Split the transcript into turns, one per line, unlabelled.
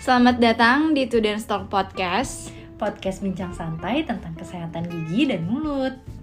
Selamat datang di Tudor Talk Podcast.
podcast bincang santai tentang kesehatan gigi dan mulut.